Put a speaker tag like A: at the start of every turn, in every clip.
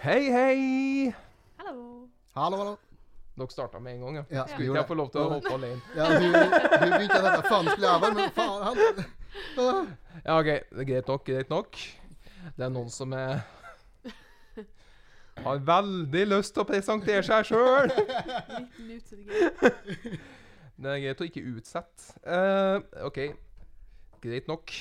A: Hei, hei!
B: Hallo.
C: Hallo, hallo.
A: Dere starta med en gang, ja.
C: Ja,
A: Skulle ikke jeg få lov til å
C: Ja.
A: hoppe alene?
C: Ja, du, du begynte å tenke Faen, skulle jeg vært Men faen, han Ah.
A: Ja, OK. Det er greit nok, greit nok. Det er noen som er har veldig lyst til å presentere seg sjøl.
B: Liten utsettelse.
A: Det er greit å ikke utsette. Eh, OK. Greit nok.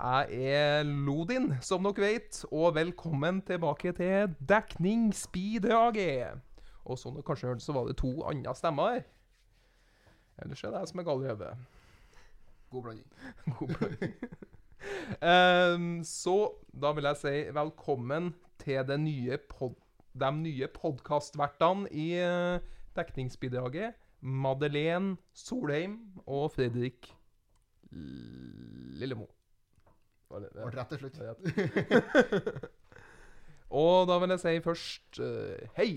A: Jeg er Lodin, som dere vet, og velkommen tilbake til Dekning Speedraget. Og som dere kanskje hørte, så var det to andre stemmer her. Ellers er det jeg som er gal i hodet.
C: God blanding.
A: God blanding. Ehm, så da vil jeg si velkommen til det nye pod de nye podkastvertene i eh, dekningsbidraget. Madeleine Solheim og Fredrik L- Lillemo. Var det-
C: Ble rett til slutt.
A: var det rett? og da vil jeg si først eh, hei,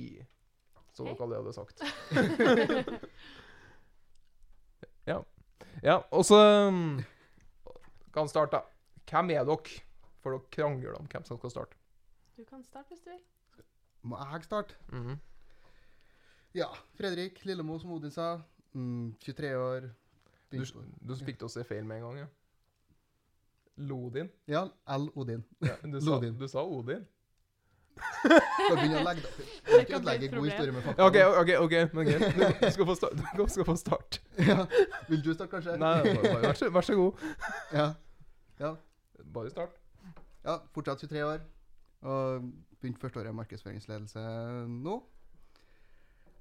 A: som
B: Hei.
A: dere allerede har sagt. ja. ja. Og så um, kan starte. Hvem er dere? For dere krangler om hvem som skal starte.
B: Du kan starte hvis du vil.
C: Må jeg starte?
A: Mhm.
C: Ja. Fredrik Lillemo, som Odin sa. Mm, 23 år.
A: Du, du fikk det å se feil med en gang, ja. Lodin.
C: Ja, L. Odin.
A: Ja, du, sa,
C: Lodin.
A: du sa Odin.
C: Skal begynne å legge det
B: Det kan
C: Ikke
B: bli
C: ødelegge
B: et
C: god
B: problem.
C: historie med fakta.
A: OK, OK, ok, men greit. Du skal få start. Du skal få start.
C: Ja. Vil du starte, kanskje?
A: Nei, bare, vær, så, vær så god.
C: Ja.
A: Bare start.
C: ja. Fortsatt 23 år. Og begynte første året i markedsføringsledelse nå.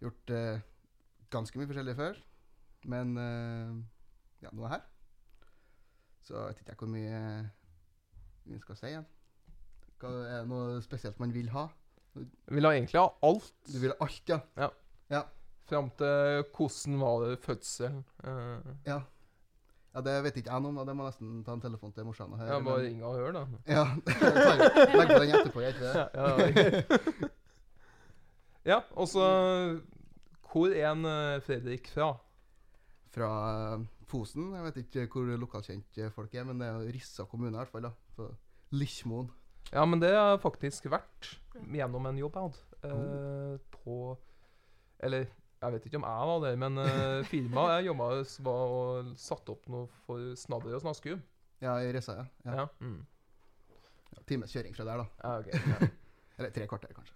C: Gjort eh, ganske mye forskjellig før, men eh, ja, nå er jeg her. Så jeg vet ikke jeg hvor mye vi skal si igjen. Hva er det noe spesielt man vil ha?
A: Vil ha egentlig ha alt
C: Du vil ha alt, ja.
A: fram til hvordan var det fødselen. Eh,
C: Ja, Det vet ikke jeg noe om, da. det må jeg nesten ta en telefon til morsan. og høre,
A: ja,
C: men-
A: bare ring og hør, da.
C: Ja, tar- Legg på den etterpå, gjør ikke det?
A: Ja, ja, ja og så Hvor er en eh, Fredrik fra?
C: Fra eh, Fosen. Jeg vet ikke hvor lokalkjent eh, folk er, men det er jo Rissa kommune i hvert fall. da. Så Lismoen.
A: Ja, men det har jeg faktisk vært gjennom en jobb jeg hadde. eh, På Eller jeg vet ikke om jeg var der, men eh, firmaet jeg jobba hos, var og satte opp noe for snadder og snaskehjul.
C: Ja, i Rissa, ja. ja.
A: Ja. Mm.
C: Times kjøring fra der, da.
A: Ja, ok, ja.
C: Eller tre kvarter, kanskje.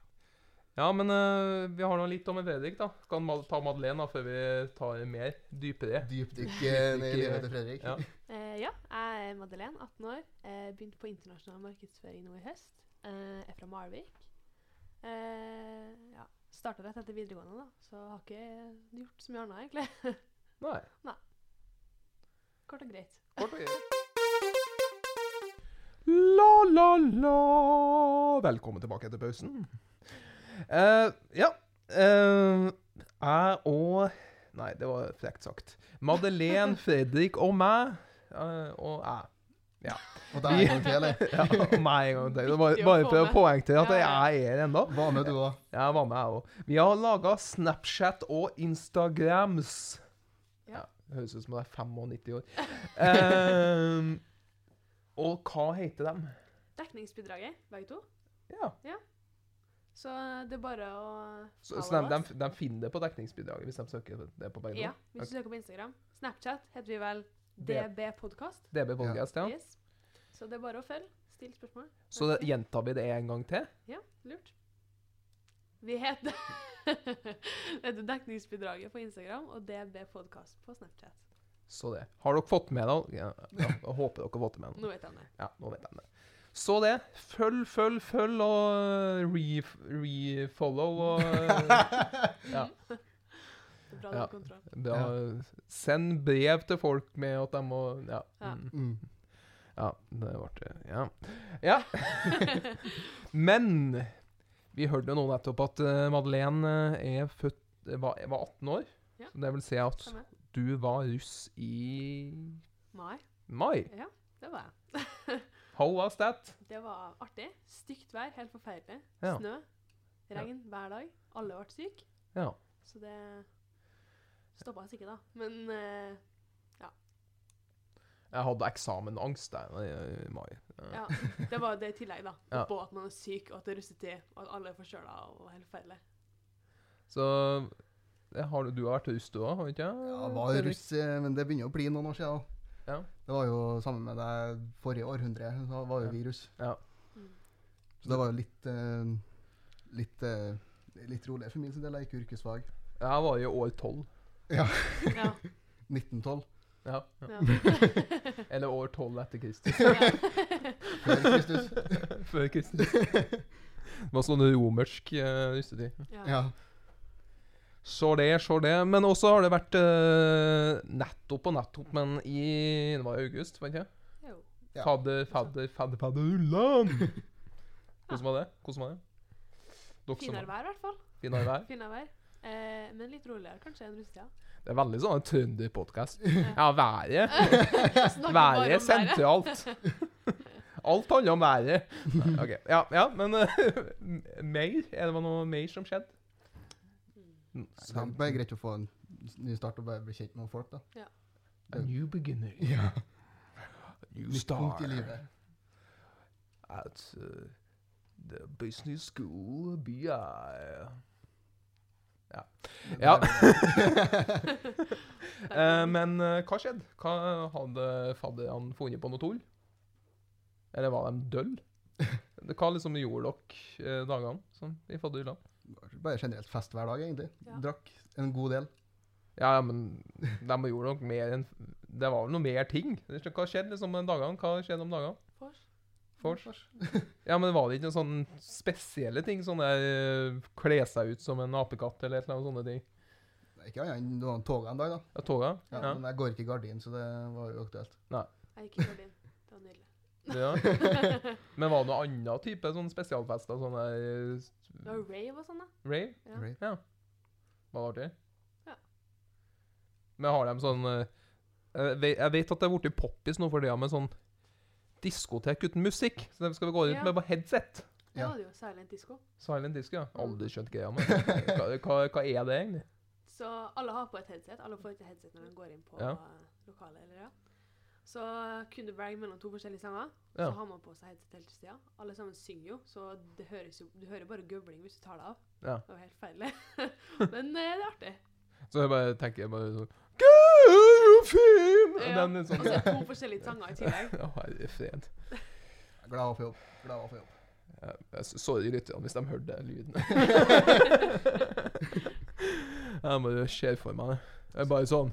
A: ja, men eh, vi har nå litt om en Fredrik, da. Kan Mal- ta Madeleine da, før vi tar mer dypere.
C: Dypdykk eh, ned i livet til Fredrik.
A: Ja.
B: Eh, ja, jeg er Madeleine, 18 år. Eh, begynte på internasjonal markedsføring nå i høst. Eh, er fra Malvik. Eh, ja, Starta rett etter videregående, da, så har ikke gjort så mye annet, egentlig.
A: Nei.
B: Kort og greit.
A: Kort og greit. La, la, la. Velkommen tilbake etter pausen. Eh, ja. eh, jeg og Nei, det var frekt sagt. Madeleine, Fredrik og meg. eh, og jeg.
C: Og deg en gang til, eller?
A: Ja, og meg en gang til. Det var
B: Viktig å
A: bare
B: få
A: for å
B: med.
A: poengtere at
B: Ja,
A: jeg
B: ja.
A: er her ennå.
C: Hva med du òg?
A: Jeg var med, jeg òg. Vi har laga Snapchat og Instagrams.
B: Ja.
A: Ja. det høres ut som om jeg er 95 år. Ehm, og hva heter dem?
B: Dekningsbidraget, begge to.
A: Ja.
B: Så det er bare å
A: Så,
B: follow
A: så de,
B: us.
A: de, de finner det på dekningsbidraget hvis de søker det på begge
B: Ja,
A: to?
B: hvis du søker på Instagram. Snapchat heter vi vel
A: Det-
B: DB Podcast.
A: DB Podcast, ja.
B: Yes. Så det er bare å følge. Still spørsmål.
A: Så det, gjentar vi det en gang til?
B: Ja, lurt. Vi heter, det heter Dekningsbidraget på Instagram og DB Podcast på Snapchat.
A: Så det. Har dere fått med dere ja, ja, jeg Håper dere har fått med dere.
B: Nå vet jeg det.
A: Ja, nå vet jeg det. Så det. Følg, følg, følg, og ref- refollow og Ja.
B: Det er
A: Ja.
B: bra du har kontroll.
A: Det å Send brev til folk med at de må Ja.
B: Ja.
A: Mm.
C: Mm.
A: ja det ble det. Ja. ja. Men vi hørte jo nå nettopp at eh, Madeleine eh, er født var, var 18 år.
B: Ja.
A: Så det vil si at
B: Stemmer.
A: du var russ i
B: Mai,
A: mai.
B: det var jeg.
A: How was that?
B: Det var artig. Stygt vær, helt forferdelig.
A: Ja.
B: Snø, regn hver dag. Alle ble syke.
A: Ja.
B: Så det stoppa oss ikke, da. Men eh,
A: Jeg hadde eksamenangst jeg, i mai. Eh,
B: Ja, Det var det i tillegg, da.
A: Ja.
B: Oppå at man er syk, og at det er russetid, og at alle er forkjøla og helt forferdelig.
A: Så det har, du- du har vært russ, du òg, har du ikke?
C: Ja, jeg var
A: Fredrik?
C: russ, eh, men det begynner å bli noen år siden. da.
A: Ja.
C: Det var jo sammen med deg forrige århundre. Da var jo
A: Ja.
C: vi russ.
B: Mm.
C: Så det var jo litt eh, Litt, eh, litt roligere for min sin del. Jeg gikk yrkesfag.
A: Jeg var i år tolv.
B: Ja.
C: 1912.
A: Ja.
B: ja.
A: Eller år tolv etter Kristus.
C: Før Kristus.
A: Før Kristus. Det var sånn romersk eh, russetid.
B: ja.
C: Ja.
A: Så det, så det. Men også har det vært eh, nettopp og nettopp, men i Det var i august, var det ikke?
B: Jo.
C: Ja.
A: Fadder, fadder, fadder, fadderullan! Hvordan var det? Hvordan var det? Dere som-
B: Finere vær, i hvert fall.
A: Finere vær.
B: Finere vær. Eh, men litt roligere kanskje enn russetida.
A: Det er veldig sånn trønderpodkast. Ja, været.
B: Snakker bare om
A: Været er sentralt. Alt handler om været. Nei, Ok, Ja, ja men eh, mer? Er det noe mer som skjedde?
C: Så Det er bare greit å få en s- ny start og bare bli kjent med folk, da.
A: A new beginner.
C: Ja.
A: New
C: Nytt punkt i
A: star.
C: livet.
A: at uh, the business school BI. Ja. Eh, men eh, hva skjedde? Hva Hadde fadderne funnet på noe tull? Eller var de døll? Hva liksom gjorde dere eh, dagene sånn, i fadderhylla?
C: Bare generelt fest hver dag, egentlig.
B: Ja.
C: Drakk en god del.
A: Ja, ja, men de gjorde nok mer enn Det var vel noe mer ting. Hva skjedde liksom med dagene? Hva skjedde om dagene?
B: Fors.
A: Fors? Ja, men var det ikke noen sånne spesielle ting? Sånn der eh, kle seg ut som en apekatt eller et eller annet sånne ting?
C: Nei, Ikke annet enn noen toga en dag, da.
A: Ja, toga?
C: Ja,
A: Ja.
C: Men jeg går ikke i gardin, så det var jo aktuelt.
B: Jeg gikk i Berlin. Det var nydelig.
A: ja. Men var det noe annen type sånn spesialfester? Sånn der eh,
B: Det var rave og sånn, da.
A: rave?
B: Ja.
C: Right.
A: Var det artig?
B: Ja.
A: Men har de sånn eh, Jeg ve- jeg vet at det er blitt poppis nå for tida med sånn diskotek uten musikk. Så dem skal vi gå ut
B: Ja.
A: med på headset.
B: Da
C: Ja.
B: var det jo silent disco.
A: Silent disco, ja.
B: Mm.
A: Aldri skjønt greia med hva, hva, hva er det egentlig?
B: Så alle har på et headset. Alle får et headset når de går inn på
A: Ja.
B: eh, lokalet. eller ja. Så kunne du velge mellom to forskjellige sanger.
A: Ja.
B: Så har man på seg headset hele tida. Alle sammen synger jo, så det høres jo, du hører bare gøvling hvis du tar det av.
A: Ja.
B: Det var helt feil. Men eh, det er artig.
A: Så jeg bare tenker jeg bare sånn Gud, og fin!
B: Ja.
A: Den er
B: Og så
A: sånn
B: er det to forskjellige sanger i tillegg.
A: Å, herre fred.
C: Glad for jobb. Glad for jobb.
A: Ja, jeg s- Sorry lytterne hvis de hørte den lyden. jeg bare ser for meg det. Det er bare sånn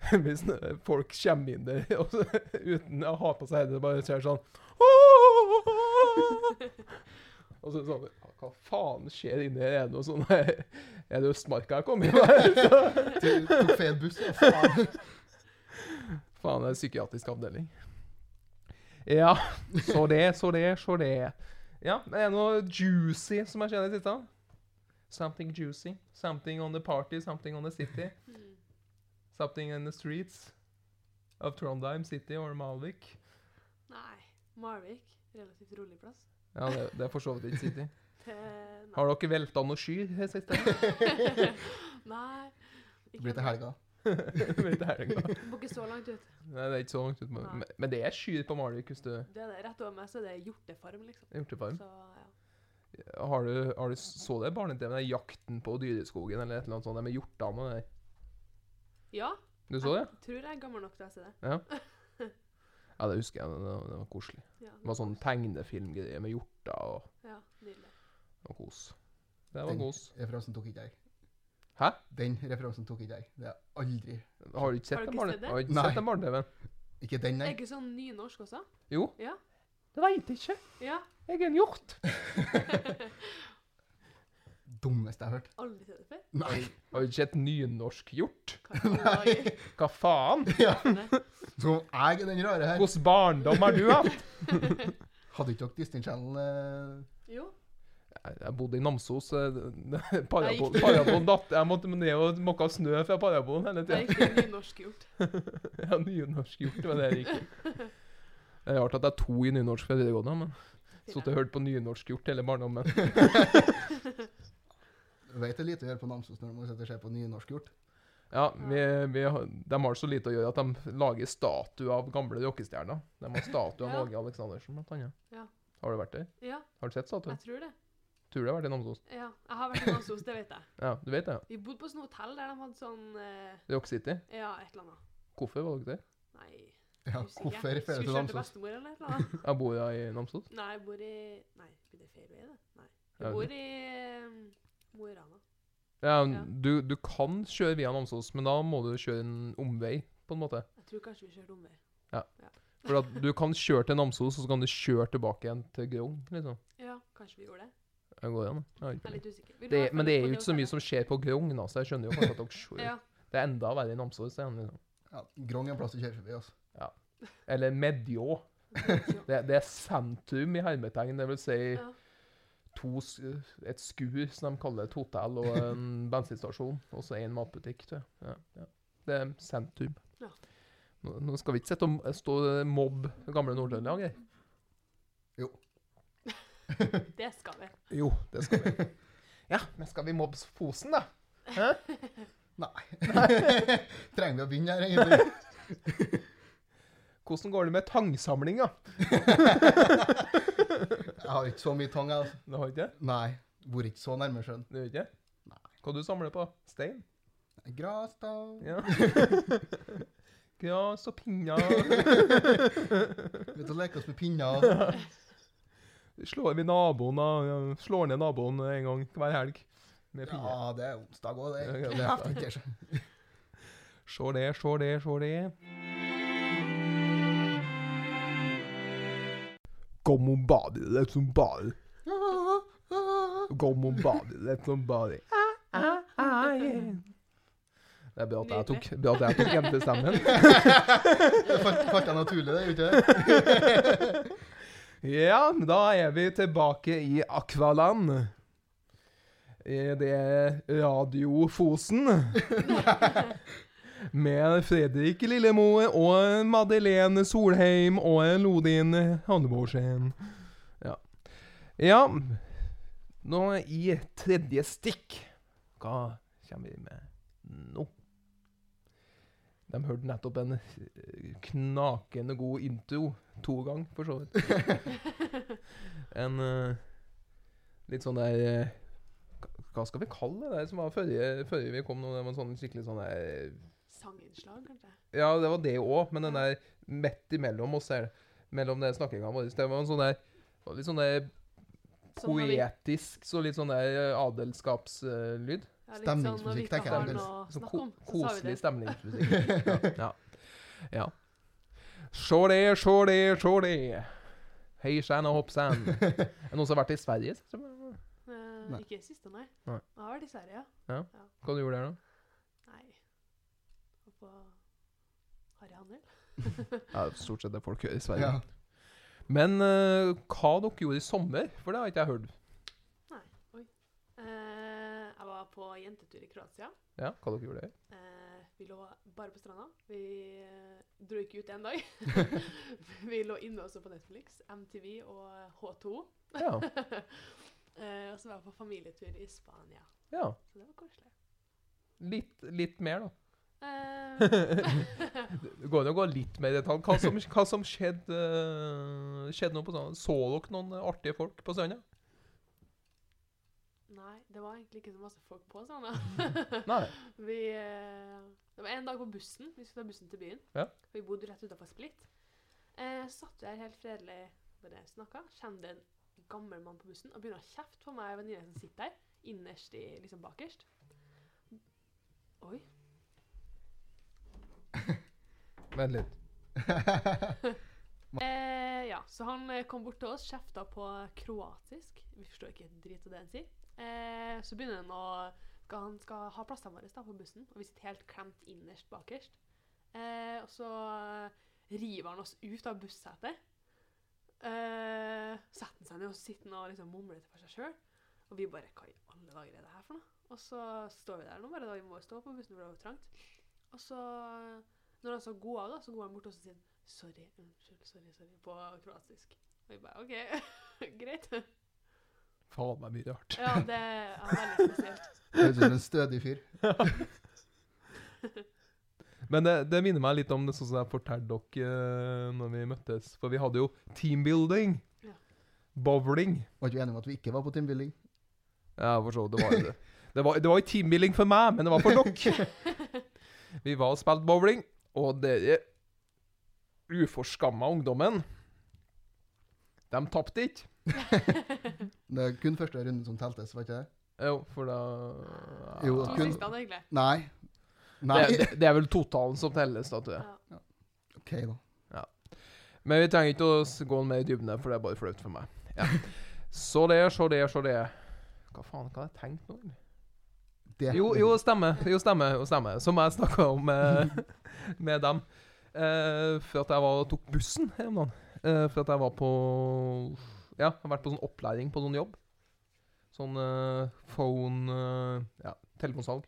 A: Hvis n- folk kommer inn der og så, uten å ha på seg det, bare ser sånn Og så sånn «Ja, Hva faen skjer inni her? Er det noe sånn Er det Østmarka jeg kom inn i?
C: Du tok feil buss, ja. Faen.
A: Faen, det er psykiatrisk avdeling. Ja, så det, så det, så det. Ja, men er det noe juicy som har skjedd i det siste? Something juicy. Something on the party, something on the city.
B: Mm.
A: Something in the streets of Trondheim City or Malvik.
B: Nei. Marvik. Relativt rolig plass.
A: Ja, det, det er for så vidt ikke city.
B: Eh, nei.
A: Har dere velta noe skyr i det siste?
B: nei.
C: Det blir til helga.
A: Vet du, Erling, da?
B: Må ikke så langt ut.
A: Nei, det er ikke så langt ut. men-
B: Nei.
A: Men, men det er skyr på Malvik hvis du er
B: Det er det. Rett over meg så er det hjortefarm, liksom.
A: hjortefarm.
B: Så ja.
A: Har du, har du så det barne-TV? den der 'Jakten på dyreskogen' eller et eller annet sånt? Det med hjortene og det der.
B: ja
A: Du så det?
B: Jeg tror jeg er gammel nok til å se det.
A: Ja, det husker jeg. Det, det, det var koselig.
B: Ja,
A: Det var sånn tegnefilmgreier med hjorter og,
B: ja nydelig.
A: og kos. Det var
C: Den
A: kos.
C: referansen tok ikke jeg.
A: Hæ?
C: Den referansen tok ikke jeg. Det er aldri
A: Har du ikke
B: Har
A: sett den
B: du ikke sett
A: barne-
B: det?
A: har du ikke
C: Nei.
A: sett den barne-TV-en?
C: Ikke den,
B: Er
C: nei.
B: ikke sånn nynorsk også?
A: Jo.
B: Ja.
A: Det veit jeg ikke.
B: Ja.
A: Jeg er en hjort.
C: Dummeste jeg har hørt.
B: Aldri sett det før.
C: Nei.
A: Har du ikke sett nynorsk hjort?
B: Hva i all
A: Hva faen?
B: verden?
C: Så jeg er den rare her.
A: Hvordan barndom har du hatt?
C: Hadde ikke dere Disney Channel eh,
B: Jo.
A: Jeg jeg bodde i Namsos. eh, Parabol,
B: gikk-
A: parabol datt. Jeg måtte ned og måke snø fra parabolen hele
B: Det
A: tida.
B: er ikke nynorsk gjort.
A: Ja, nynorsk hjort, men det gikk ikke. Det er rart at det er to i nynorsk fra videregående, men sittet og hørt på nynorsk hjort hele barndommen.
C: Vet det er lite å gjøre på Namsos når man sitter og ser på nynorsk gjort.
A: Ja, vi, vi, har- De har så lite å gjøre at de lager statue av gamle rockestjerner. De har statue av
B: Ja.
A: Åge Aleksandersen, blant annet.
B: Ja.
A: Har du vært der?
B: Ja,
A: Har du sett statuen?
B: jeg tror det.
A: Tror du jeg har vært i Namsos.
B: Ja, Jeg har vært i Namsos, det vet jeg.
A: Ja, du vet det?
B: Vi bodde på sånn hotell der de hadde sånn eh,
A: Rock City.
B: Ja, et eller annet.
A: Hvorfor var dere der?
B: Nei,
C: Ja,
B: husker ikke.
C: hvorfor refererer du til
B: Skulle kjøre til
C: Namsos?
B: bestemor eller et eller annet.
A: Jeg bor jeg i Namsos.
B: Nei, jeg bor i Nei, blir det feil vei, det? Nei.
A: Ja,
B: Jeg bor i eh, Mo i Rana.
A: Ja,
B: Ja.
A: du, du kan kjøre via Namsos, men da må du kjøre en omvei, på en måte.
B: Jeg tror kanskje vi kjørte omvei.
A: For at du kan kjøre til Namsos, og så kan du kjøre tilbake igjen til Grong, liksom.
B: Ja, kanskje vi gjorde det.
A: Jeg går igjen, jeg har ikke
B: Jeg er
A: peiling.
B: litt usikker. Vi
A: det,
B: drar i hvert fall
A: men det er
B: på
A: jo ikke så mye
B: hotellet.
A: som skjer på Grong, da, så jeg skjønner jo kanskje at dere ser.
B: Ja,
A: Det er enda verre i Namsos. igjen, Liksom.
C: Ja, Grong er en plass du kjører forbi, altså.
A: Eller Medjå.
B: det,
A: Det, det er sentrum i hermetegn, det vil si
B: ja.
A: to, s- et skur, som de kaller et hotell, og en bensinstasjon, og så en matbutikk. Tror jeg. Ja, ja. Det er sentrum.
B: Ja.
A: Nå, nå skal vi ikke sitte og m- stå og mobbe gamle Nord-Trøndelag her.
B: det skal vi.
A: Jo, det skal vi. Ja, men skal vi mobbe Fosen, da? Hæ?
C: Trenger vi å begynne her, egentlig?
A: Hvordan går det med tangsamlinga?
C: Jeg har ikke så mye tang, jeg, altså.
A: Det har ikke jeg.
C: Nei. Bor ikke så nærme sjøen.
A: Det gjør ikke jeg.
C: Nei.
A: Hva du samler på? Stein?
C: Gras, da.
A: Ja. Gras og pinner.
C: Ute og leker oss med pinner.
A: Slår vi naboen, da? Ja, Slår ned naboen en gang hver helg med pinner.
C: Ja, det er onsdag òg, det.
A: Ja,
C: Det
A: ja.
C: er ikke det.
A: Se det, se det, se det. Kom og bade, let som bade. Kom og bade, let som bade. Det er bra at jeg tok, bra at jeg tok jentestemmen.
C: Det falt falt deg naturlig, det, gjorde ikke det?
A: Ja, da er vi tilbake i Akvaland. Eh, Det er Radio Fosen. Med Fredrik Lillemoe og Madeleine Solheim og Lodin Hanneborgsen. Ja. ja Nå i tredje stikk. Hva kommer vi med nå? De hørte nettopp en eh, knakende god intro. To ganger, for så vidt. En eh, litt sånn der eh, hva- Hva skal vi kalle det der som var forrige, forrige vi kom nå? Det var en sånn skikkelig sånn der
B: Sanginnslag, kanskje?
A: Ja, det var det òg, men den der midt imellom oss her, mellom den snakkinga vår, det var en sånn der det var Litt sånn der
B: Sånn når vi-
A: poetisk, så litt sånn der adelskapslyd.
B: ja, litt sånn når vi
C: Stemningsmusikk,
B: ikke
C: tenker
B: har noe
C: jeg.
B: å
A: Sånn
B: snakke
A: ko
B: om, så sa vi
A: koselig
B: det.
A: stemningsmusikk. Ja. ja. ja. Sjå det, sjå det, sjå det. Hei sann og hopp sann. Er det noen som har vært i Sverige?
B: Eh,
C: Nei.
B: Ikke siste, nei.
A: Nei.
B: Jeg har vært i Sverige, ja.
A: Hva du gjorde der, da?
B: Nei. Og på harryhandel.
A: Ja, Stort sett det folk gjør i Sverige.
C: Ja.
A: Men eh, hva dere gjorde i sommer? For det har ikke jeg hørt.
B: Eh, jeg var på jentetur i Kroatia.
A: Ja, hva dere gjorde der?
B: Eh, vi lå bare på stranda. Vi eh, dro ikke ut en dag. vi lå inne også på Netflix, MTV og H2.
A: Ja,
B: eh, og så var jeg på familietur i Spania.
A: ja.
B: Så det var koselig.
A: Litt, litt mer, da.
B: Eh,
A: Det går an å gå litt mer i detalj. Hva som, hva som skjedde, eh, skjedde nå på stranda? Så dere noen artige folk på stranda?
B: nei, det var egentlig ikke så masse folk på stranda.
A: Nei.
B: Vi, eh, det var en dag på bussen. Vi skulle ta bussen til byen.
A: Ja.
B: Vi bodde rett utenfor Split. Eh, satt vi her helt fredelig bare snakka. Kommer det en gammel mann på bussen og begynner å kjefte på meg og venninna som sitter der, innerst i, liksom bakerst. Oi.
A: Vent litt.
B: Eh, ja, så han eh, kom bort til oss, kjefta på kroatisk. Vi forstår ikke en drit av det han sier. Eh, så begynner han å skal, Han skal ha plassene våre da, på bussen, og vi sitter helt klemt innerst bakerst. Eh, og så eh, river han oss ut av bussetet. Eh, setter han seg ned og sitter han og liksom mumler til for seg sjøl. Og vi bare Hva i alle dager er det her for noe? Og så står vi der nå, bare da vi må stå på bussen, for det var jo trangt. Og så, eh, når han så god av, da, så går han bort og så sier han, Sorry, unnskyld, sorry, sorry, på kroatisk. Og vi bare OK, greit.
A: Faen meg mye rart.
B: Ja, det er veldig spesielt.
C: Høres ut som en stødig fyr.
A: Men det, det minner meg litt om det sånn som jeg fortalte dere eh, når vi møttes. For vi hadde jo teambuilding.
B: Ja.
A: Bowling.
C: Var ikke du enig om at vi ikke var på teambuilding?
A: Ja, for så vidt. Det var jo det. Det var, det var jo teambuilding for meg, men det var for dere. Vi var og spilte bowling, og dere uforskamma ungdommen De tapte ikke.
C: Det er kun første runde som teltes, var ikke det?
A: Jo, for da
C: Jo,
B: to
C: kun-
B: siste han, egentlig.
C: Nei. Nei.
A: det, det, det er vel totalen som telles, da, tror jeg.
B: Ja.
C: OK, da.
A: Men vi trenger ikke å s- gå mer i dybden, her, for det er bare flaut for meg. Ja. Så det, så det, så det. Hva faen hva har jeg tenkt nå? egentlig?
C: Det.
A: Jo, jo, stemmer. Jo, stemmer. Jo, stemmer. Som jeg snakka om eh, med dem. Eh, for at jeg var, tok bussen her om dagen. Eh, for at jeg var på Ja, jeg har vært på sånn opplæring på sånn jobb. Sånn eh, phone eh, Ja, telefonsalg.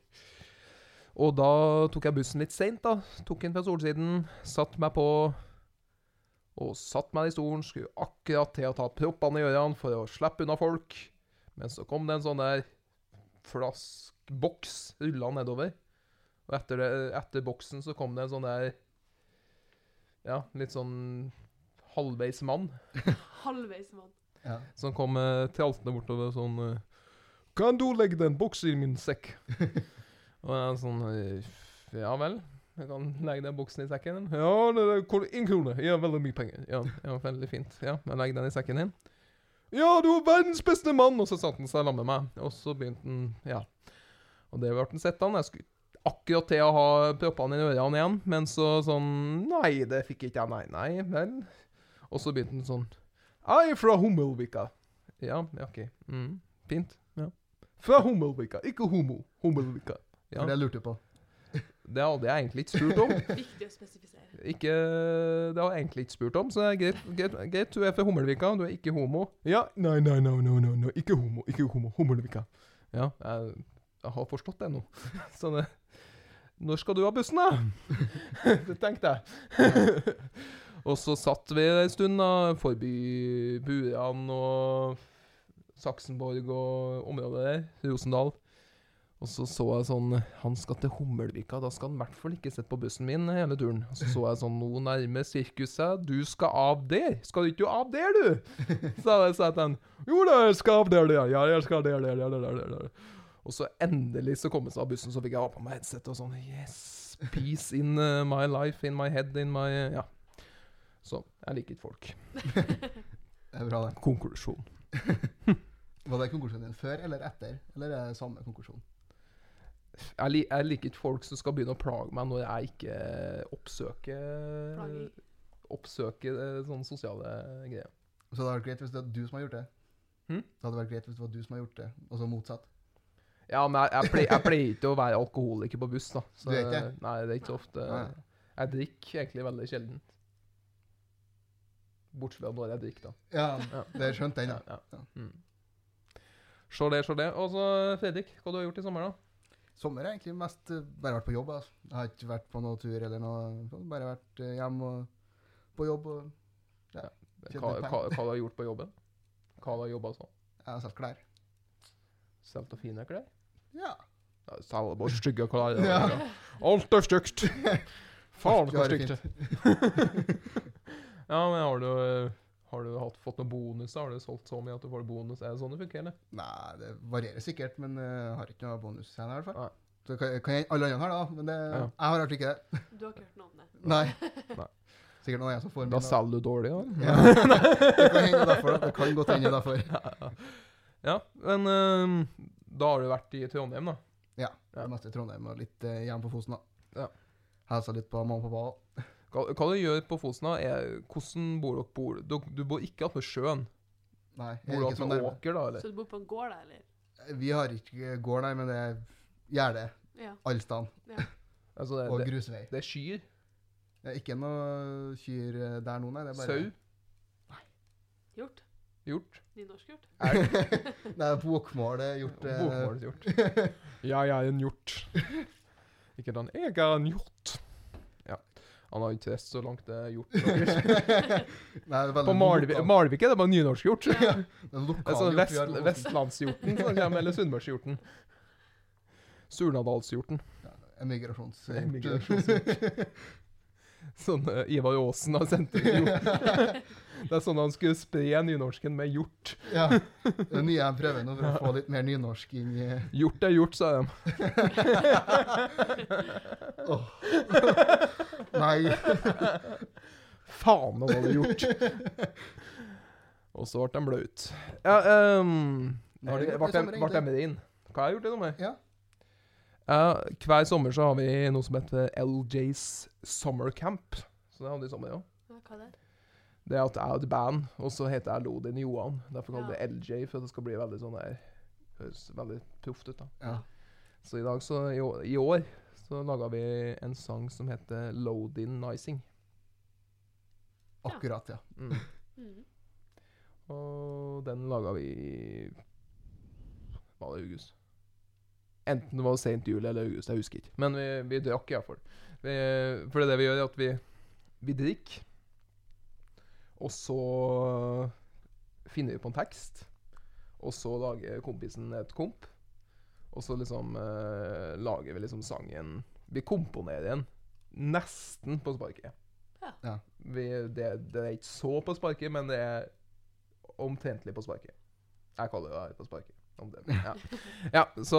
A: Og da tok jeg bussen litt seint, da. Tok den fra Solsiden, satt meg på og satt meg i stolen, skulle akkurat til å ta proppene i ørene for å slippe unna folk. Men så kom det en sånn der flaskboks rulla nedover. Og etter, det, etter boksen så kom det en sånn der Ja, litt sånn halvveis mann
B: Halvveis mann.
C: Ja.
A: som kom eh, traltende bortover sånn eh, Kan du legge den boksen i min sekk? Og jeg sånn eh, Ja vel. Jeg kan legge den boksen i sekken din. Ja, det er kor- en krone. Ja, veldig mye penger. Ja, ja veldig fint. Ja, jeg legger den i sekken din. Ja, du er verdens beste mann! Og så satte han seg sammen med meg. Og så begynte han Ja. Og det ble han sittende. Jeg skulle akkurat til å ha proppene i ørene igjen, men så sånn Nei, det fikk ikke jeg. Nei, nei, vel. Og så begynte han sånn jeg er fra Hummelvika. Ja, ja, OK. Mm, fint. Ja. Fra Hummelvika, ikke homo. Hummelvika. Ja.
C: For det lurte du på.
A: Det hadde jeg egentlig ikke spurt om.
B: Viktig å spesifisere.
A: Ikke, det har jeg egentlig ikke spurt om, så det er greit, greit, greit. Du er fra Hummelvika, du er ikke homo. Ja, nei, nei, nei, nei, nei, nei. ikke homo, ikke homo. Hummelvika. Ja, jeg, jeg har forstått det nå. Så det Når skal du ha bussen, da? Det tenkte jeg. Og så satt vi en stund, da, forbi Buran og Saksenborg og området der, Rosendal. Og så så jeg sånn Han skal til Hummelvika, da skal han i hvert fall ikke sitte på bussen min hele turen. Og så så jeg sånn Nå nærmer sirkuset. Du skal av der! Skal du ikke av der, du? Så jeg sa til han Jo da, jeg skal av der, ja. ja jeg skal der, der, der, der, der, der. Og så endelig så kom jeg seg av bussen, så fikk jeg ha på meg headset og sånn Yes! Peace in uh, my life, in my head, in my Ja. Så jeg liker ikke folk.
C: Det er bra, det.
A: Konklusjon.
C: Var det konkursjonen din før eller etter? Eller er det samme konkursjon?
A: Jeg, li jeg liker ikke folk som skal begynne å plage meg når jeg ikke oppsøker
B: Plager.
A: oppsøke eh, sånne sosiale greier.
C: Så det hadde vært greit hvis det var du som hadde gjort det.
A: Hm?
C: Det hadde vært greit hvis det var du som hadde gjort det, og så motsatt.
A: Ja, men jeg, jeg, pleier, jeg pleier ikke å være alkoholiker på buss, da.
C: Du er ikke?
A: Nei, det er ikke så ofte.
C: Nei.
A: Jeg drikker egentlig veldig sjelden. Bortsett fra når jeg drikker, da.
C: Ja,
A: Ja.
C: det skjønte jeg, da.
A: Ja,
C: Ja.
A: ja. Mm. Se det, se det. Og så Fredrik, hva du har gjort i sommer, da?
C: Sommer har egentlig mest eh, bare vært på jobb. Altså. Jeg har ikke vært på noen tur eller noe. sånt. Bare vært eh, hjemme og på jobb. Og Kjent
A: Hva,
C: litt
A: hva, hva du har gjort på jobben? Hva du har jobba sånn?
C: jeg har solgt klær.
A: Solgt og fine klær?
C: Ja.
A: Ja, Selger bare stygge klær.
C: Ja.
A: Ja. Alt er stygt! Faen, så
C: Alt gjør det
A: stygt. ja, men har du, eh, har du hatt, fått noen bonuser? Har du solgt så mye at du får bonus? Er det sånn det funker, eller?
C: Nei, det varierer sikkert, men eh, jeg har ikke noe bonus igjen i hvert fall.
A: Nei.
C: Så kan, kan jeg, alle andre har det, da, men det,
A: Ja.
C: jeg har i hvert fall ikke det.
B: Du har ikke hørt noe om det.
C: Nei.
A: Nei.
C: Sikkert noen av jeg som får
A: Da
C: min, da.
A: selger du dårlig, da.
C: Ja. Det kan hende derfor, da. Det kan godt hende derfor.
A: Ja, men øhm, da har du vært i Trondheim, da. Ja.
C: Det meste i Trondheim og litt eh, hjemme på Fosen, da.
A: Ja.
C: Hilsa litt på mamma og pappa. også.
A: Hva, hva du gjør på Fosen, da, er hvordan bor dere bor? Du, du bor ikke attmed sjøen?
C: Nei, jeg
A: Bor
C: er
A: du
C: ikke sånn så
A: attmed
C: nærme.
A: åker, da, eller?
B: Så du bor på en gård, da, eller?
C: Vi har ikke gård, nei, men det er gjerde.
B: Ja.
C: Allstand.
A: Altså,
C: Og
A: det, det,
C: grusvei.
A: det er skyer.
C: Det er ikke noe kyr eh, der nå, nei. Det er bare
A: Sau.
B: Hjort?
A: Hjort.
B: Nynorskhjort?
C: Nei, bokmål er gjort eh,
A: Bokmålshjort. Ja, jeg er en hjort. Ikke den Jeg er en hjort. Ja. Han har ikke rest så langt det er hjort.
C: Nei, det er
A: På
C: veldig
A: Malvi-
C: lokal-
A: Malvik er det bare nynorskgjort.
B: Ja.
C: det er lokal
A: Det er sånn
C: gjort vi
A: vest,
C: har på Fosen.
A: vestlandshjorten som kommer, eller sunnmørshjorten. Surnadalshjorten.
C: Ja, Emigrasjons...
A: Emigrasjons- Sånn eh, Ivar Aasen har sendt ut hjort. Det er sånn han skulle spre nynorsken med hjort.
C: ja. Det nye jeg prøver nå, for å få litt mer nynorsk inn i
A: Hjort er hjort, sa de.
C: Åh. Nei.
A: Faen, han hadde gjort. Og så ble de blaut. Ja, ehm,
C: Nå har det gått i
A: ble de-
C: sommer,
A: ble de
C: egentlig.
A: rein? Hva har jeg gjort i sommer?
C: Ja.
A: Ja, hver sommer så har vi noe som heter LJs Summer Camp. Så det hadde vi i sommer, ja.
B: Ja, hva det er?
A: Det er at jeg er et band, og så heter jeg Lodin Johan. Derfor kaller
B: Ja.
A: jeg det LJ, for at det skal bli veldig sånn der Høres veldig proft ut, da.
C: Ja.
A: Så i dag, så i år, i år så laga vi en sang som heter Loadin Nicing.
C: Akkurat, ja.
A: Mm.
B: Mm.
A: Og den laga vi i Var det august? Enten det var sent juli eller august, jeg husker ikke. Men vi, vi drakk iallfall. Vi, for det er det vi gjør, er at vi, vi drikker. Og så finner vi på en tekst. Og så lager kompisen et komp. Og så liksom eh, lager vi liksom sangen Vi komponerer den nesten på sparket.
B: Ja.
C: Ja.
A: Vi, det, det er ikke så på sparket, men det er omtrentlig på sparket. Jeg kaller det her på sparket. Omtrent. Ja, ja så,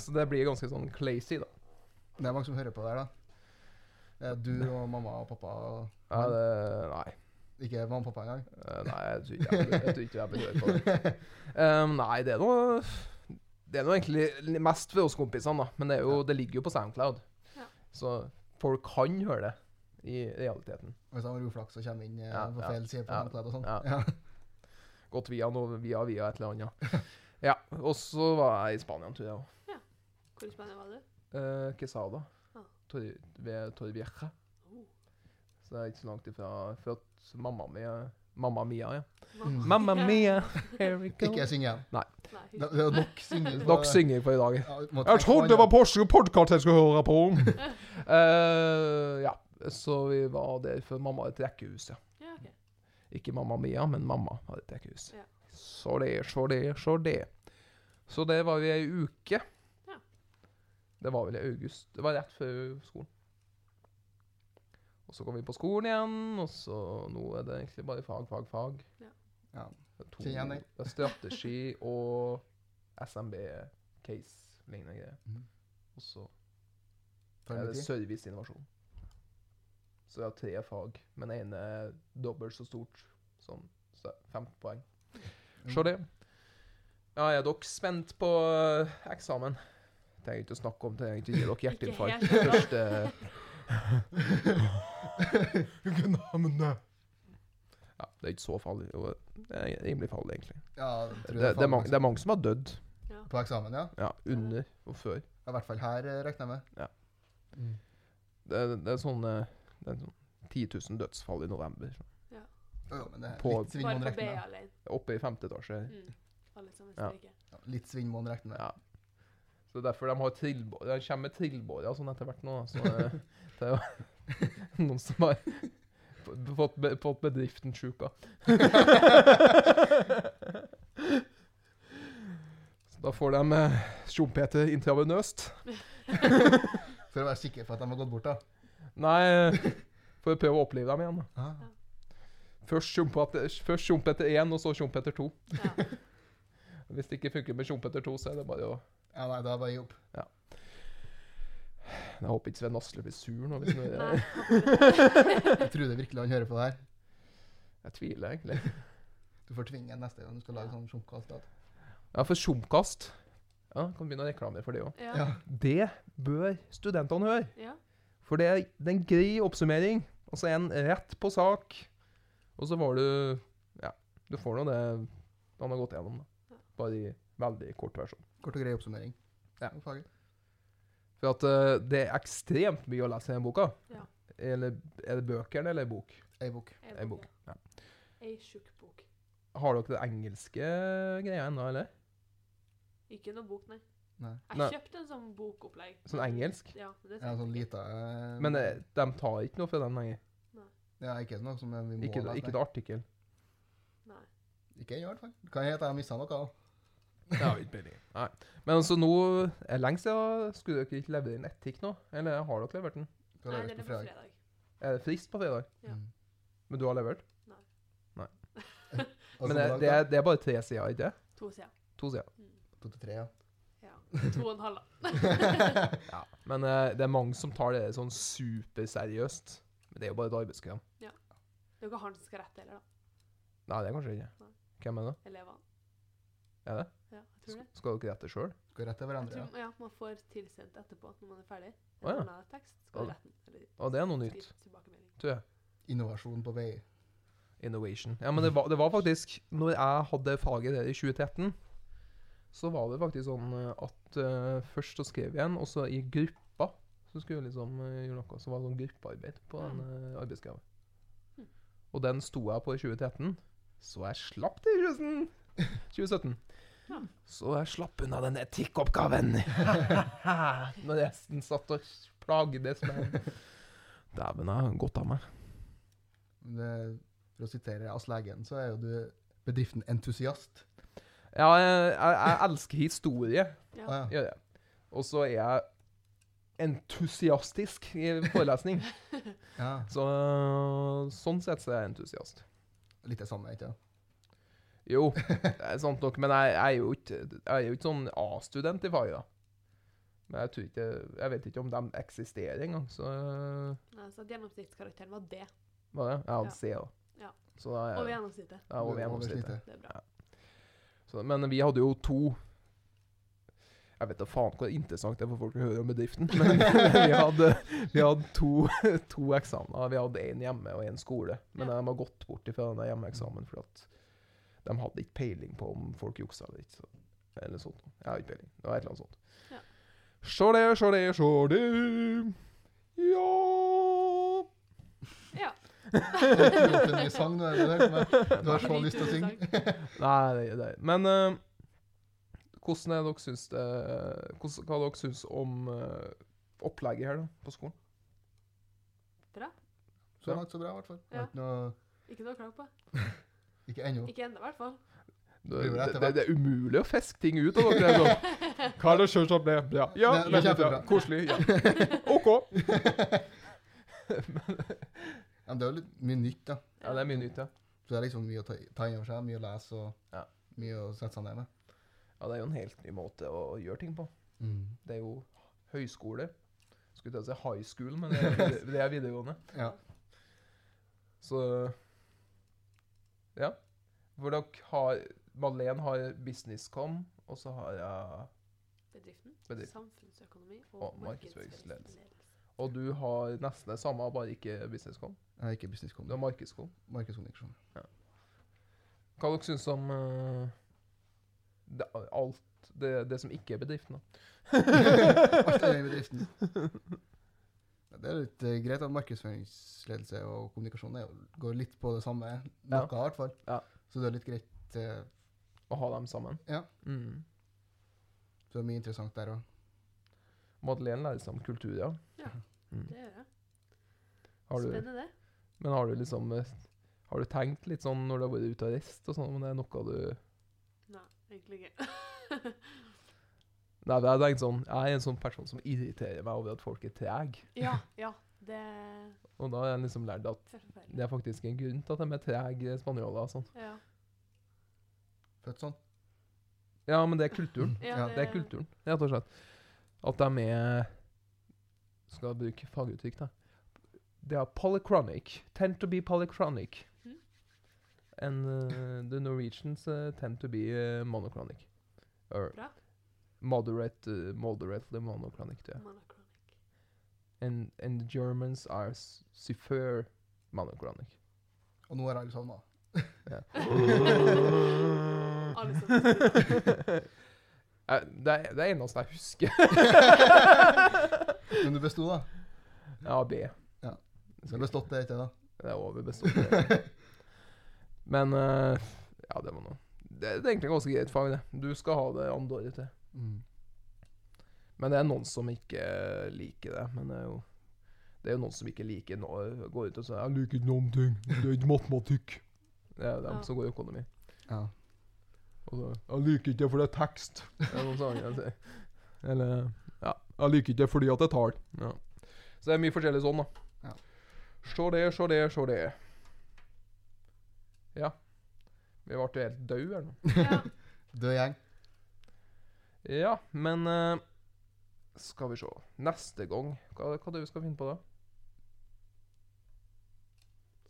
A: så det blir ganske sånn clazy, da.
C: Det er mange som hører på der, da. Det er Du og mamma og pappa og
A: Ja, det, nei.
C: Ikke mamma og pappa engang.
A: Eh, Nei, jeg tror ikke jeg, jeg, tror ikke jeg blir hørt på det. Ehm, nei, det er noe Det er noe egentlig li- mest for oss kompisene, da. Men det, er jo, det ligger jo på Soundcloud.
B: Ja.
A: Så folk kan høre det i realiteten.
C: Hvis han har uflaks og kommer inn eh,
A: Ja,
C: på
A: ja,
C: feil side på
A: ja,
C: håndkleet og sånn.
A: ja.
C: Ja.
A: Gått via noe via via et eller annet. Ja. Og så var jeg i Spania en tur, jeg òg.
B: Hvor i Spania var du?
A: Uh, Quesada.
B: Ah.
A: Tor, ved Torvieja.
B: Oh.
A: Så det er ikke så langt ifra for at mamma mi eh, Mamma Mia, ja.
B: Mamma.
A: Mamma Mia, here we go.
C: Ikke syng igjen.
B: Nei,
C: Det
B: husk.
C: det er nok synging.
A: Dere synger for i dag.
C: Ja, vi må
A: Jeg
C: trekke
A: trodde
C: på
A: det var
C: den,
A: Porsche podkast jeg skulle høre på! Eh, ja, så vi var der for mamma har et rekkehus, ja.
B: Ja, ok.
A: Ikke Mamma Mia, men mamma har et rekkehus.
B: Ja.
A: Så det, så det, så det. Så der var vi ei uke.
B: Ja.
A: Det var vel i august. Det var rett før skolen. Og så kom vi på skolen igjen, og så nå er det egentlig bare fag, fag, fag.
B: Ja.
C: Ja.
A: Det er to-
C: Kjenn igjen det.
A: det er strategi og SMB-case-lignende greier.
C: Mhm.
A: Og så
C: for
A: er
C: en
A: det
C: tid.
A: Eh, serviceinnovasjon. Så vi har tre fag, men ene er dobbelt så stort som så er det fem poeng. Se det. Ja, er dere spent på eh, eksamen? Trenger ikke å snakke om det, trenger ikke å gi dere hjerteinfarkt.
B: Ikke helt,
A: Første Ja, det er ikke så farlig. jo, Det er rimelig farlig, egentlig.
C: Ja, jeg
A: Det,
C: tror
A: det, er,
C: faen
A: mange, det er mange som har dødd.
C: På eksamen, ja.
A: Ja, under og før.
C: I hvert fall her, eh, regner jeg med.
A: Ja.
C: Mm.
A: Det, er- det er sånn eh, Det er sånn 10 000 dødsfall i november.
C: Ja, men det er
A: På-
C: litt sving må
B: Bare
C: en
B: på
C: regne
B: BA
C: med.
B: alene.
A: Oppe i femte etasje.
B: Mm. Alle sammen
A: Ja.
B: stryker.
C: Ja, litt sving må en regne med.
A: Ja. Så derfor de har trillbå- de kommer med trillbårer og sånn etter hvert nå. da. Så eh, det er jo noen som har f- fått, be, fått bedriften sjuk av. Så Da får de eh, sjompete intravenøst.
C: For å være sikker på at de har gått bort, da.
A: Nei, eh, får prøve å opplive dem igjen. da.
C: Ah.
A: Først sjomp etter- først sjomp etter én, og så sjomp etter to.
B: Ja.
A: Hvis det ikke funker med sjomp etter to, så er det bare å
C: Ja, nei, da er det bare å gi opp.
A: Jeg håper ikke Sven Asle blir sur nå. Hvis noe,
B: Nei.
C: Jeg tror det virkelig han hører på det her.
A: jeg tviler egentlig.
C: Du får tvinge en neste gang du skal lage sånn sjunkast. da.
A: Ja, for Sjompkast Ja, kan begynne å reklamere for det òg.
B: Ja.
A: Det bør studentene høre.
B: ja.
A: For det er det er en grei oppsummering. Og så er en rett på sak. Og så får du Ja, du får nå det han har gått gjennom, da. Bare i veldig kort versjon.
C: Kort og grei oppsummering.
A: Ja.
C: Om faget.
A: For at eh, det er ekstremt mye å lese i den boka.
B: Ja.
A: Eller er det bøkene eller bok?
C: Ei bok.
B: En
A: En bok.
B: bok.
A: Ja.
B: Ei tjukk bok.
A: Har dere det engelske greia ennå, eller?
B: Ikke noe bok, nei.
C: Nei.
B: Jeg
A: Nei.
B: kjøpte en sånn bokopplegg.
A: Sånn engelsk?
B: Ja, men det
C: Ja, sånn
B: tenkte jeg ikke.
C: lita eh,
A: Men eh, de tar ikke noe fra den lenger.
C: Ja, ikke noe som vi må
A: Ikke,
C: lese.
A: ikke til artikkel.
B: Nei.
C: Ikke ennå, i hvert fall. Kan hende jeg har mista noe. da.
A: Det har vi ikke peiling på. Nei. Men altså, nå er det lenge siden Skulle dere ikke levere inn etikk nå? Eller har dere levert den?
C: Skal
B: Nei, det
C: leveres
B: er
C: på
B: på
C: fredag.
B: fredag.
A: Er det frist på fredag?
B: Ja.
C: Mm.
A: Men du har levert?
B: eh,
A: Men
C: Og så
A: det,
C: langt,
A: det,
C: da?
A: er, det er bare tre sider, ikke det?
B: To sider.
A: To sider.
B: Mm.
C: To til tre, ja.
B: Ja. To og en halv, da.
A: Ja. Men eh, det er mange som tar det sånn superseriøst. Men det er jo bare et arbeidsprogram.
B: Det er jo ikke han som skal rette heller, da.
A: Nei, det er kanskje ikke.
B: Nei.
A: Hvem er det?
B: Elevene.
A: Er det?
B: Ja, jeg tror det.
A: Sk- Skal dere rette sjøl?
C: Går rett til
B: Jeg
C: hverandre. Ja.
B: tror, ja, man får tilsendt etterpå når man er ferdig. En
A: Å, ja.
B: annen tekst skal
A: Ja.
B: retten. Eller
A: Og det er noe nytt,
B: skrive tilbakemelding.
A: tror jeg.
C: Innovasjon på vei.
A: Innovation. Ja, men det var, det var faktisk Når jeg hadde faget der i 2013, så var det faktisk sånn eh, at eh, først så skrev jeg en, og så i gruppa så skulle jeg liksom eh, gjøre noe. Så var det sånn gruppearbeid på den uh, arbeidsgave.
B: Mm.
A: Og den sto jeg på i 2013, så jeg slapp det i 2017. 2017.
B: Ja.
A: Så jeg slapp unna den etikkoppgaven. Når resten satt og plagdes med Dæven, jeg har gått av meg.
C: Men det- For å sitere Asle Eggen, så er jo du bedriften entusiast.
A: Ja, jeg, jeg, jeg elsker historie.
B: Ja.
C: Å, ja.
A: gjør jeg. Og så er jeg entusiastisk i forelesning.
C: ja.
A: Så, sånn sett så er jeg entusiast.
C: Litt det samme, ikke sant?
A: Jo, det er sant nok, men jeg, jeg, er, jo ikke, jeg er jo ikke sånn A-student i faget, da. Men jeg, tror ikke, jeg vet ikke om de eksisterer engang, så
B: Nei, så at gjennomsnittskarakteren var det.
A: hva er det? Jeg
B: Ja.
A: hadde C, da.
B: Ja.
A: Så da er
B: Over
A: jeg,
B: gjennomsnittet.
A: jeg er over gjennomsnittet.
C: snittet.
B: Det er bra.
A: Så, men vi hadde jo to Jeg vet da faen hvor interessant det er for folk å høre om bedriften, men vi hadde, vi hadde to, to eksamener. Vi hadde én hjemme og én skole. Men
B: Ja.
A: de har gått bort ifra den der hjemmeeksamen fordi at de hadde ikke peiling på om folk juksa eller ikke. Så, eller sånt. Jeg har ikke peiling. Det var et eller annet sånt.
B: Ja.
A: Sjå det, sjå det, sjå det. Ja
B: Ja.
C: Du har gjort en ny sang nå, er det det? Men Du har så lyst til å synge.
A: Nei, det er det. er- Men eh, hvordan er dere syns det hvordan, Hva dere syns om eh, opplegget her da, på skolen?
B: Bra.
C: Så langt, så bra, i hvert fall.
B: Ja.
C: Ikke noe-
B: Ikke noe å klage på.
C: Ikke ennå.
B: Ikke ennå, i hvert fall.
A: Det,
C: Blir det
A: det,
C: etter
A: det,
C: hvert?
A: er umulig å fiske ting ut av dere. Altså. Hva er det kjørt som ble? Bra. Ja,
C: Det- det
A: veldig
C: er
A: bra.
C: kjempebra.
A: Koselig. Ja. OK.
C: Ja, men det er jo litt mye nytt, da.
A: Ja, det er mye nytt, ja.
C: Så det er liksom mye å ta, ta inn over seg, mye å lese og
A: Ja.
C: mye å sette seg ned med.
A: ja. Det er jo en helt ny måte å gjøre ting på. Det er jo høyskole. Skulle til å si high school, men det er, det er videregående.
C: Ja.
A: Så Ja. For dere har Madeleine har businesscom, og så har jeg
B: Bedriften,
A: Bedrift.
B: samfunnsøkonomi og,
A: Og markedsføringsledelse.
B: markedsføringsledelse.
A: Og du har nesten det samme, bare ikke businesscom.
C: Jeg er ikke businesskom.
A: Du har markedscom.
C: Markedskommunikasjon.
A: Hva dere syns om eh, det, alt det, det som ikke er bedriften, da?
C: Alt er i bedriften. Ja, Det er litt eh, greit at markedsføringsledelse og kommunikasjon er, jo- går litt på det samme. Noe,
A: Ja.
C: i hvert fall.
A: Ja.
C: Så det er litt greit. eh,
A: Å ha dem sammen.
C: Ja.
A: Mm.
C: Så det er mye interessant der òg.
A: Madeleine lærer seg om kultur, ja.
B: Det gjør
A: Mm.
B: jeg.
A: Har du,
B: Spennende, det.
A: men har du liksom eh, Har du tenkt litt sånn når du har vært ute og reist og sånn, om det er noe du
B: Nei, egentlig ikke.
A: Nei, jeg, tenkt sånn, jeg er en sånn person som irriterer meg over at folk er trege.
B: Ja, ja. Det
A: Og da har jeg liksom lært at
B: er forferdelig.
A: det er faktisk en grunn til at de er trege spanjoler. og Sånn.
B: Ja.
C: Født sånn.
A: Ja, men det er kulturen.
C: Ja,
A: Det er kulturen, rett og slett. At de er Skal jeg bruke faguttrykk, da. They are polychronic. Tend to be polychronic.
B: Mhm.
A: And uh, the Norwegians uh, tend to be uh, monochronic. Or
B: Bra.
A: moderate, uh, moderately monochronic. Yeah.
B: Mm. Monochronic.
A: And, and the Germans are s- super monochronic.
C: Og nå har alle savna.
B: Alle sammen.
A: Eh, Det er det er eneste jeg husker.
C: Men du besto, da.
A: Ja, B.
C: Du har bestått det, ikke da?
A: Det er over bestått. Men eh, ja, det var noe. Det, det er egentlig ganske greit fag, det. Du skal ha det andre året til.
C: Mm.
A: Men det er noen som ikke eh, liker det. Men det er jo Det er jo noen som ikke liker nå, går ut og sier 'Jeg liker ikke noen ting. Det er ikke matematikk'. Det er dem
B: Ja.
A: som går i økonomi.
C: Ja.
A: Og så, 'Jeg liker ikke det fordi det er tekst'. Det er sånn sanger jeg sier. Eller ja, 'Jeg liker ikke det fordi at det er tall'. Ja. Så det er mye forskjellig sånn, da.
C: Ja.
A: Se det, se det, se det. Ja. Vi ble jo helt døde, eller noe.
B: Ja.
C: Død gjeng.
A: Ja, men eh, Skal vi se. Neste gang, hva, hva er det vi skal finne på da?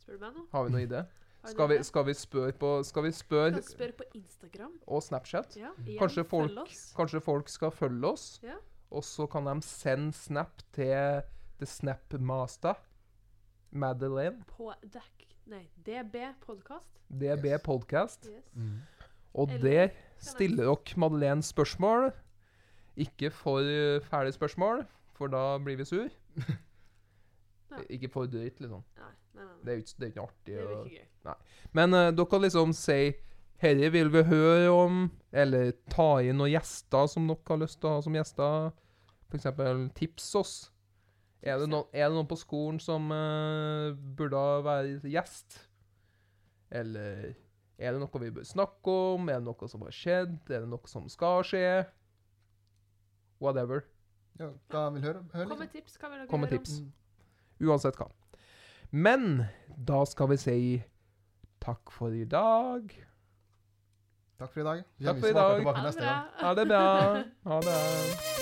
B: Spør du meg nå?
A: Har vi noen idé?
B: Har du
A: Skal vi,
B: det?
A: skal vi spørre på Skal vi
B: Kan
A: spørre
B: spørre på Instagram.
A: og Snapchat?
B: Ja, igjen,
A: Kanskje folk-
B: følg oss.
A: Kanskje folk skal følge oss,
B: Ja.
A: og så kan de sende snap til The Snapmaster. Madeleine.
B: På dekk... Nei, DB Podcast.
A: DB
C: Yes.
A: Podcast.
B: Yes.
A: Og
B: Eller-
A: der stiller dere Madeleine spørsmål. Ikke for eh, fæle spørsmål, for da blir vi sur.
B: Ja.
A: Ikke for drøyt, liksom.
B: Nei, nei, nei.
A: Det
B: nei.
A: er jo ikke, det er ikke noe
B: Det
A: artig.
B: blir
A: å-
B: ikke gøy.
A: Men eh, dere kan liksom si Herre vil vi høre om, eller ta inn noen gjester som dere har lyst til å ha som gjester. For eksempel tips oss. Er det,
B: Tips, ja.
A: noen, er det noen på skolen som eh, burde være gjest? Eller er det noe vi bør snakke om? Er det noe som har skjedd? Er det noe som skal skje? Whatever.
C: Ja, hva vil du høre? høre
B: Kom med
C: liksom.
B: tips. Hva vil dere
A: Kom med
B: høre om?
A: tips. Uansett hva. Men da skal vi si takk for i dag.
C: Takk for i dag.
A: Takk for i
C: Vi smaker
A: dag.
C: tilbake
B: Ha det
C: neste gang.
B: bra.
A: Ha det bra. Ha det.